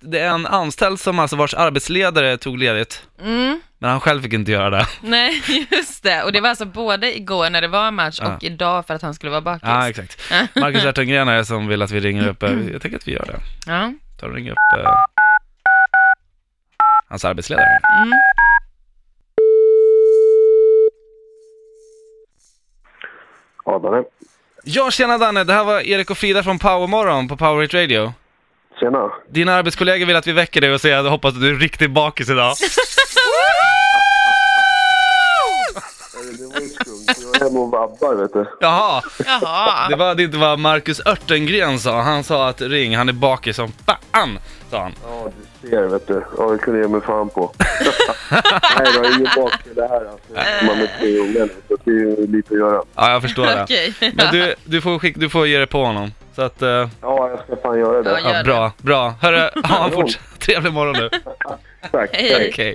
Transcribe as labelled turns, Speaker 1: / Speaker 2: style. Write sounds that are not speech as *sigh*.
Speaker 1: det är en anställd som alltså vars arbetsledare tog ledigt,
Speaker 2: Mm,
Speaker 1: men han själv fick inte göra
Speaker 2: *laughs*
Speaker 1: det.
Speaker 2: nej, just det. Och det var alltså både igår när det var match
Speaker 1: Ja.
Speaker 2: och idag för att han skulle vara bakis.
Speaker 1: Ja,
Speaker 2: *laughs*
Speaker 1: exakt. Marcus Ertengren är det som vill att vi ringer upp,
Speaker 2: Mm.
Speaker 1: eh, jag tänker att vi gör det.
Speaker 2: Ja.
Speaker 1: Tar och ringer upp eh, hans arbetsledare.
Speaker 2: Mm.
Speaker 3: Adare.
Speaker 1: Ja, tjena Danne, det här var Erik och Frida från Powermorgon på Power Hit Radio.
Speaker 3: Tjena.
Speaker 1: Dina arbetskollegor vill att vi väcker dig och säger att jag hoppas att du är riktigt bakis
Speaker 2: *laughs*
Speaker 1: idag.
Speaker 3: Det var ju skumt. Jag är hemma och vabbar, vet du.
Speaker 1: Jaha, *laughs*
Speaker 2: Jaha.
Speaker 1: det var det inte vad Marcus Örtengren sa. Han sa att ring, han är bakis som fan, sa han.
Speaker 3: Ja, du ser, vet du. Ja, det kunde jag ge mig fan på. Nej, då, ingen bakgrund det här. Alltså. Man är tre ungar, så det är ju lite att göra.
Speaker 1: Ja, jag förstår det.
Speaker 2: Okej.
Speaker 1: Men
Speaker 3: *laughs*
Speaker 1: du, du, får skick, du får ge dig på honom. Så att, eh,
Speaker 3: Ja, jag ska fan göra det.
Speaker 2: Ja,
Speaker 1: ja,
Speaker 2: gör
Speaker 3: *laughs*
Speaker 1: bra, bra. Hörru, ha en
Speaker 3: Kanon.
Speaker 1: fortsatt trevlig morgon nu.
Speaker 3: Tack.
Speaker 2: Hej.
Speaker 1: Okej.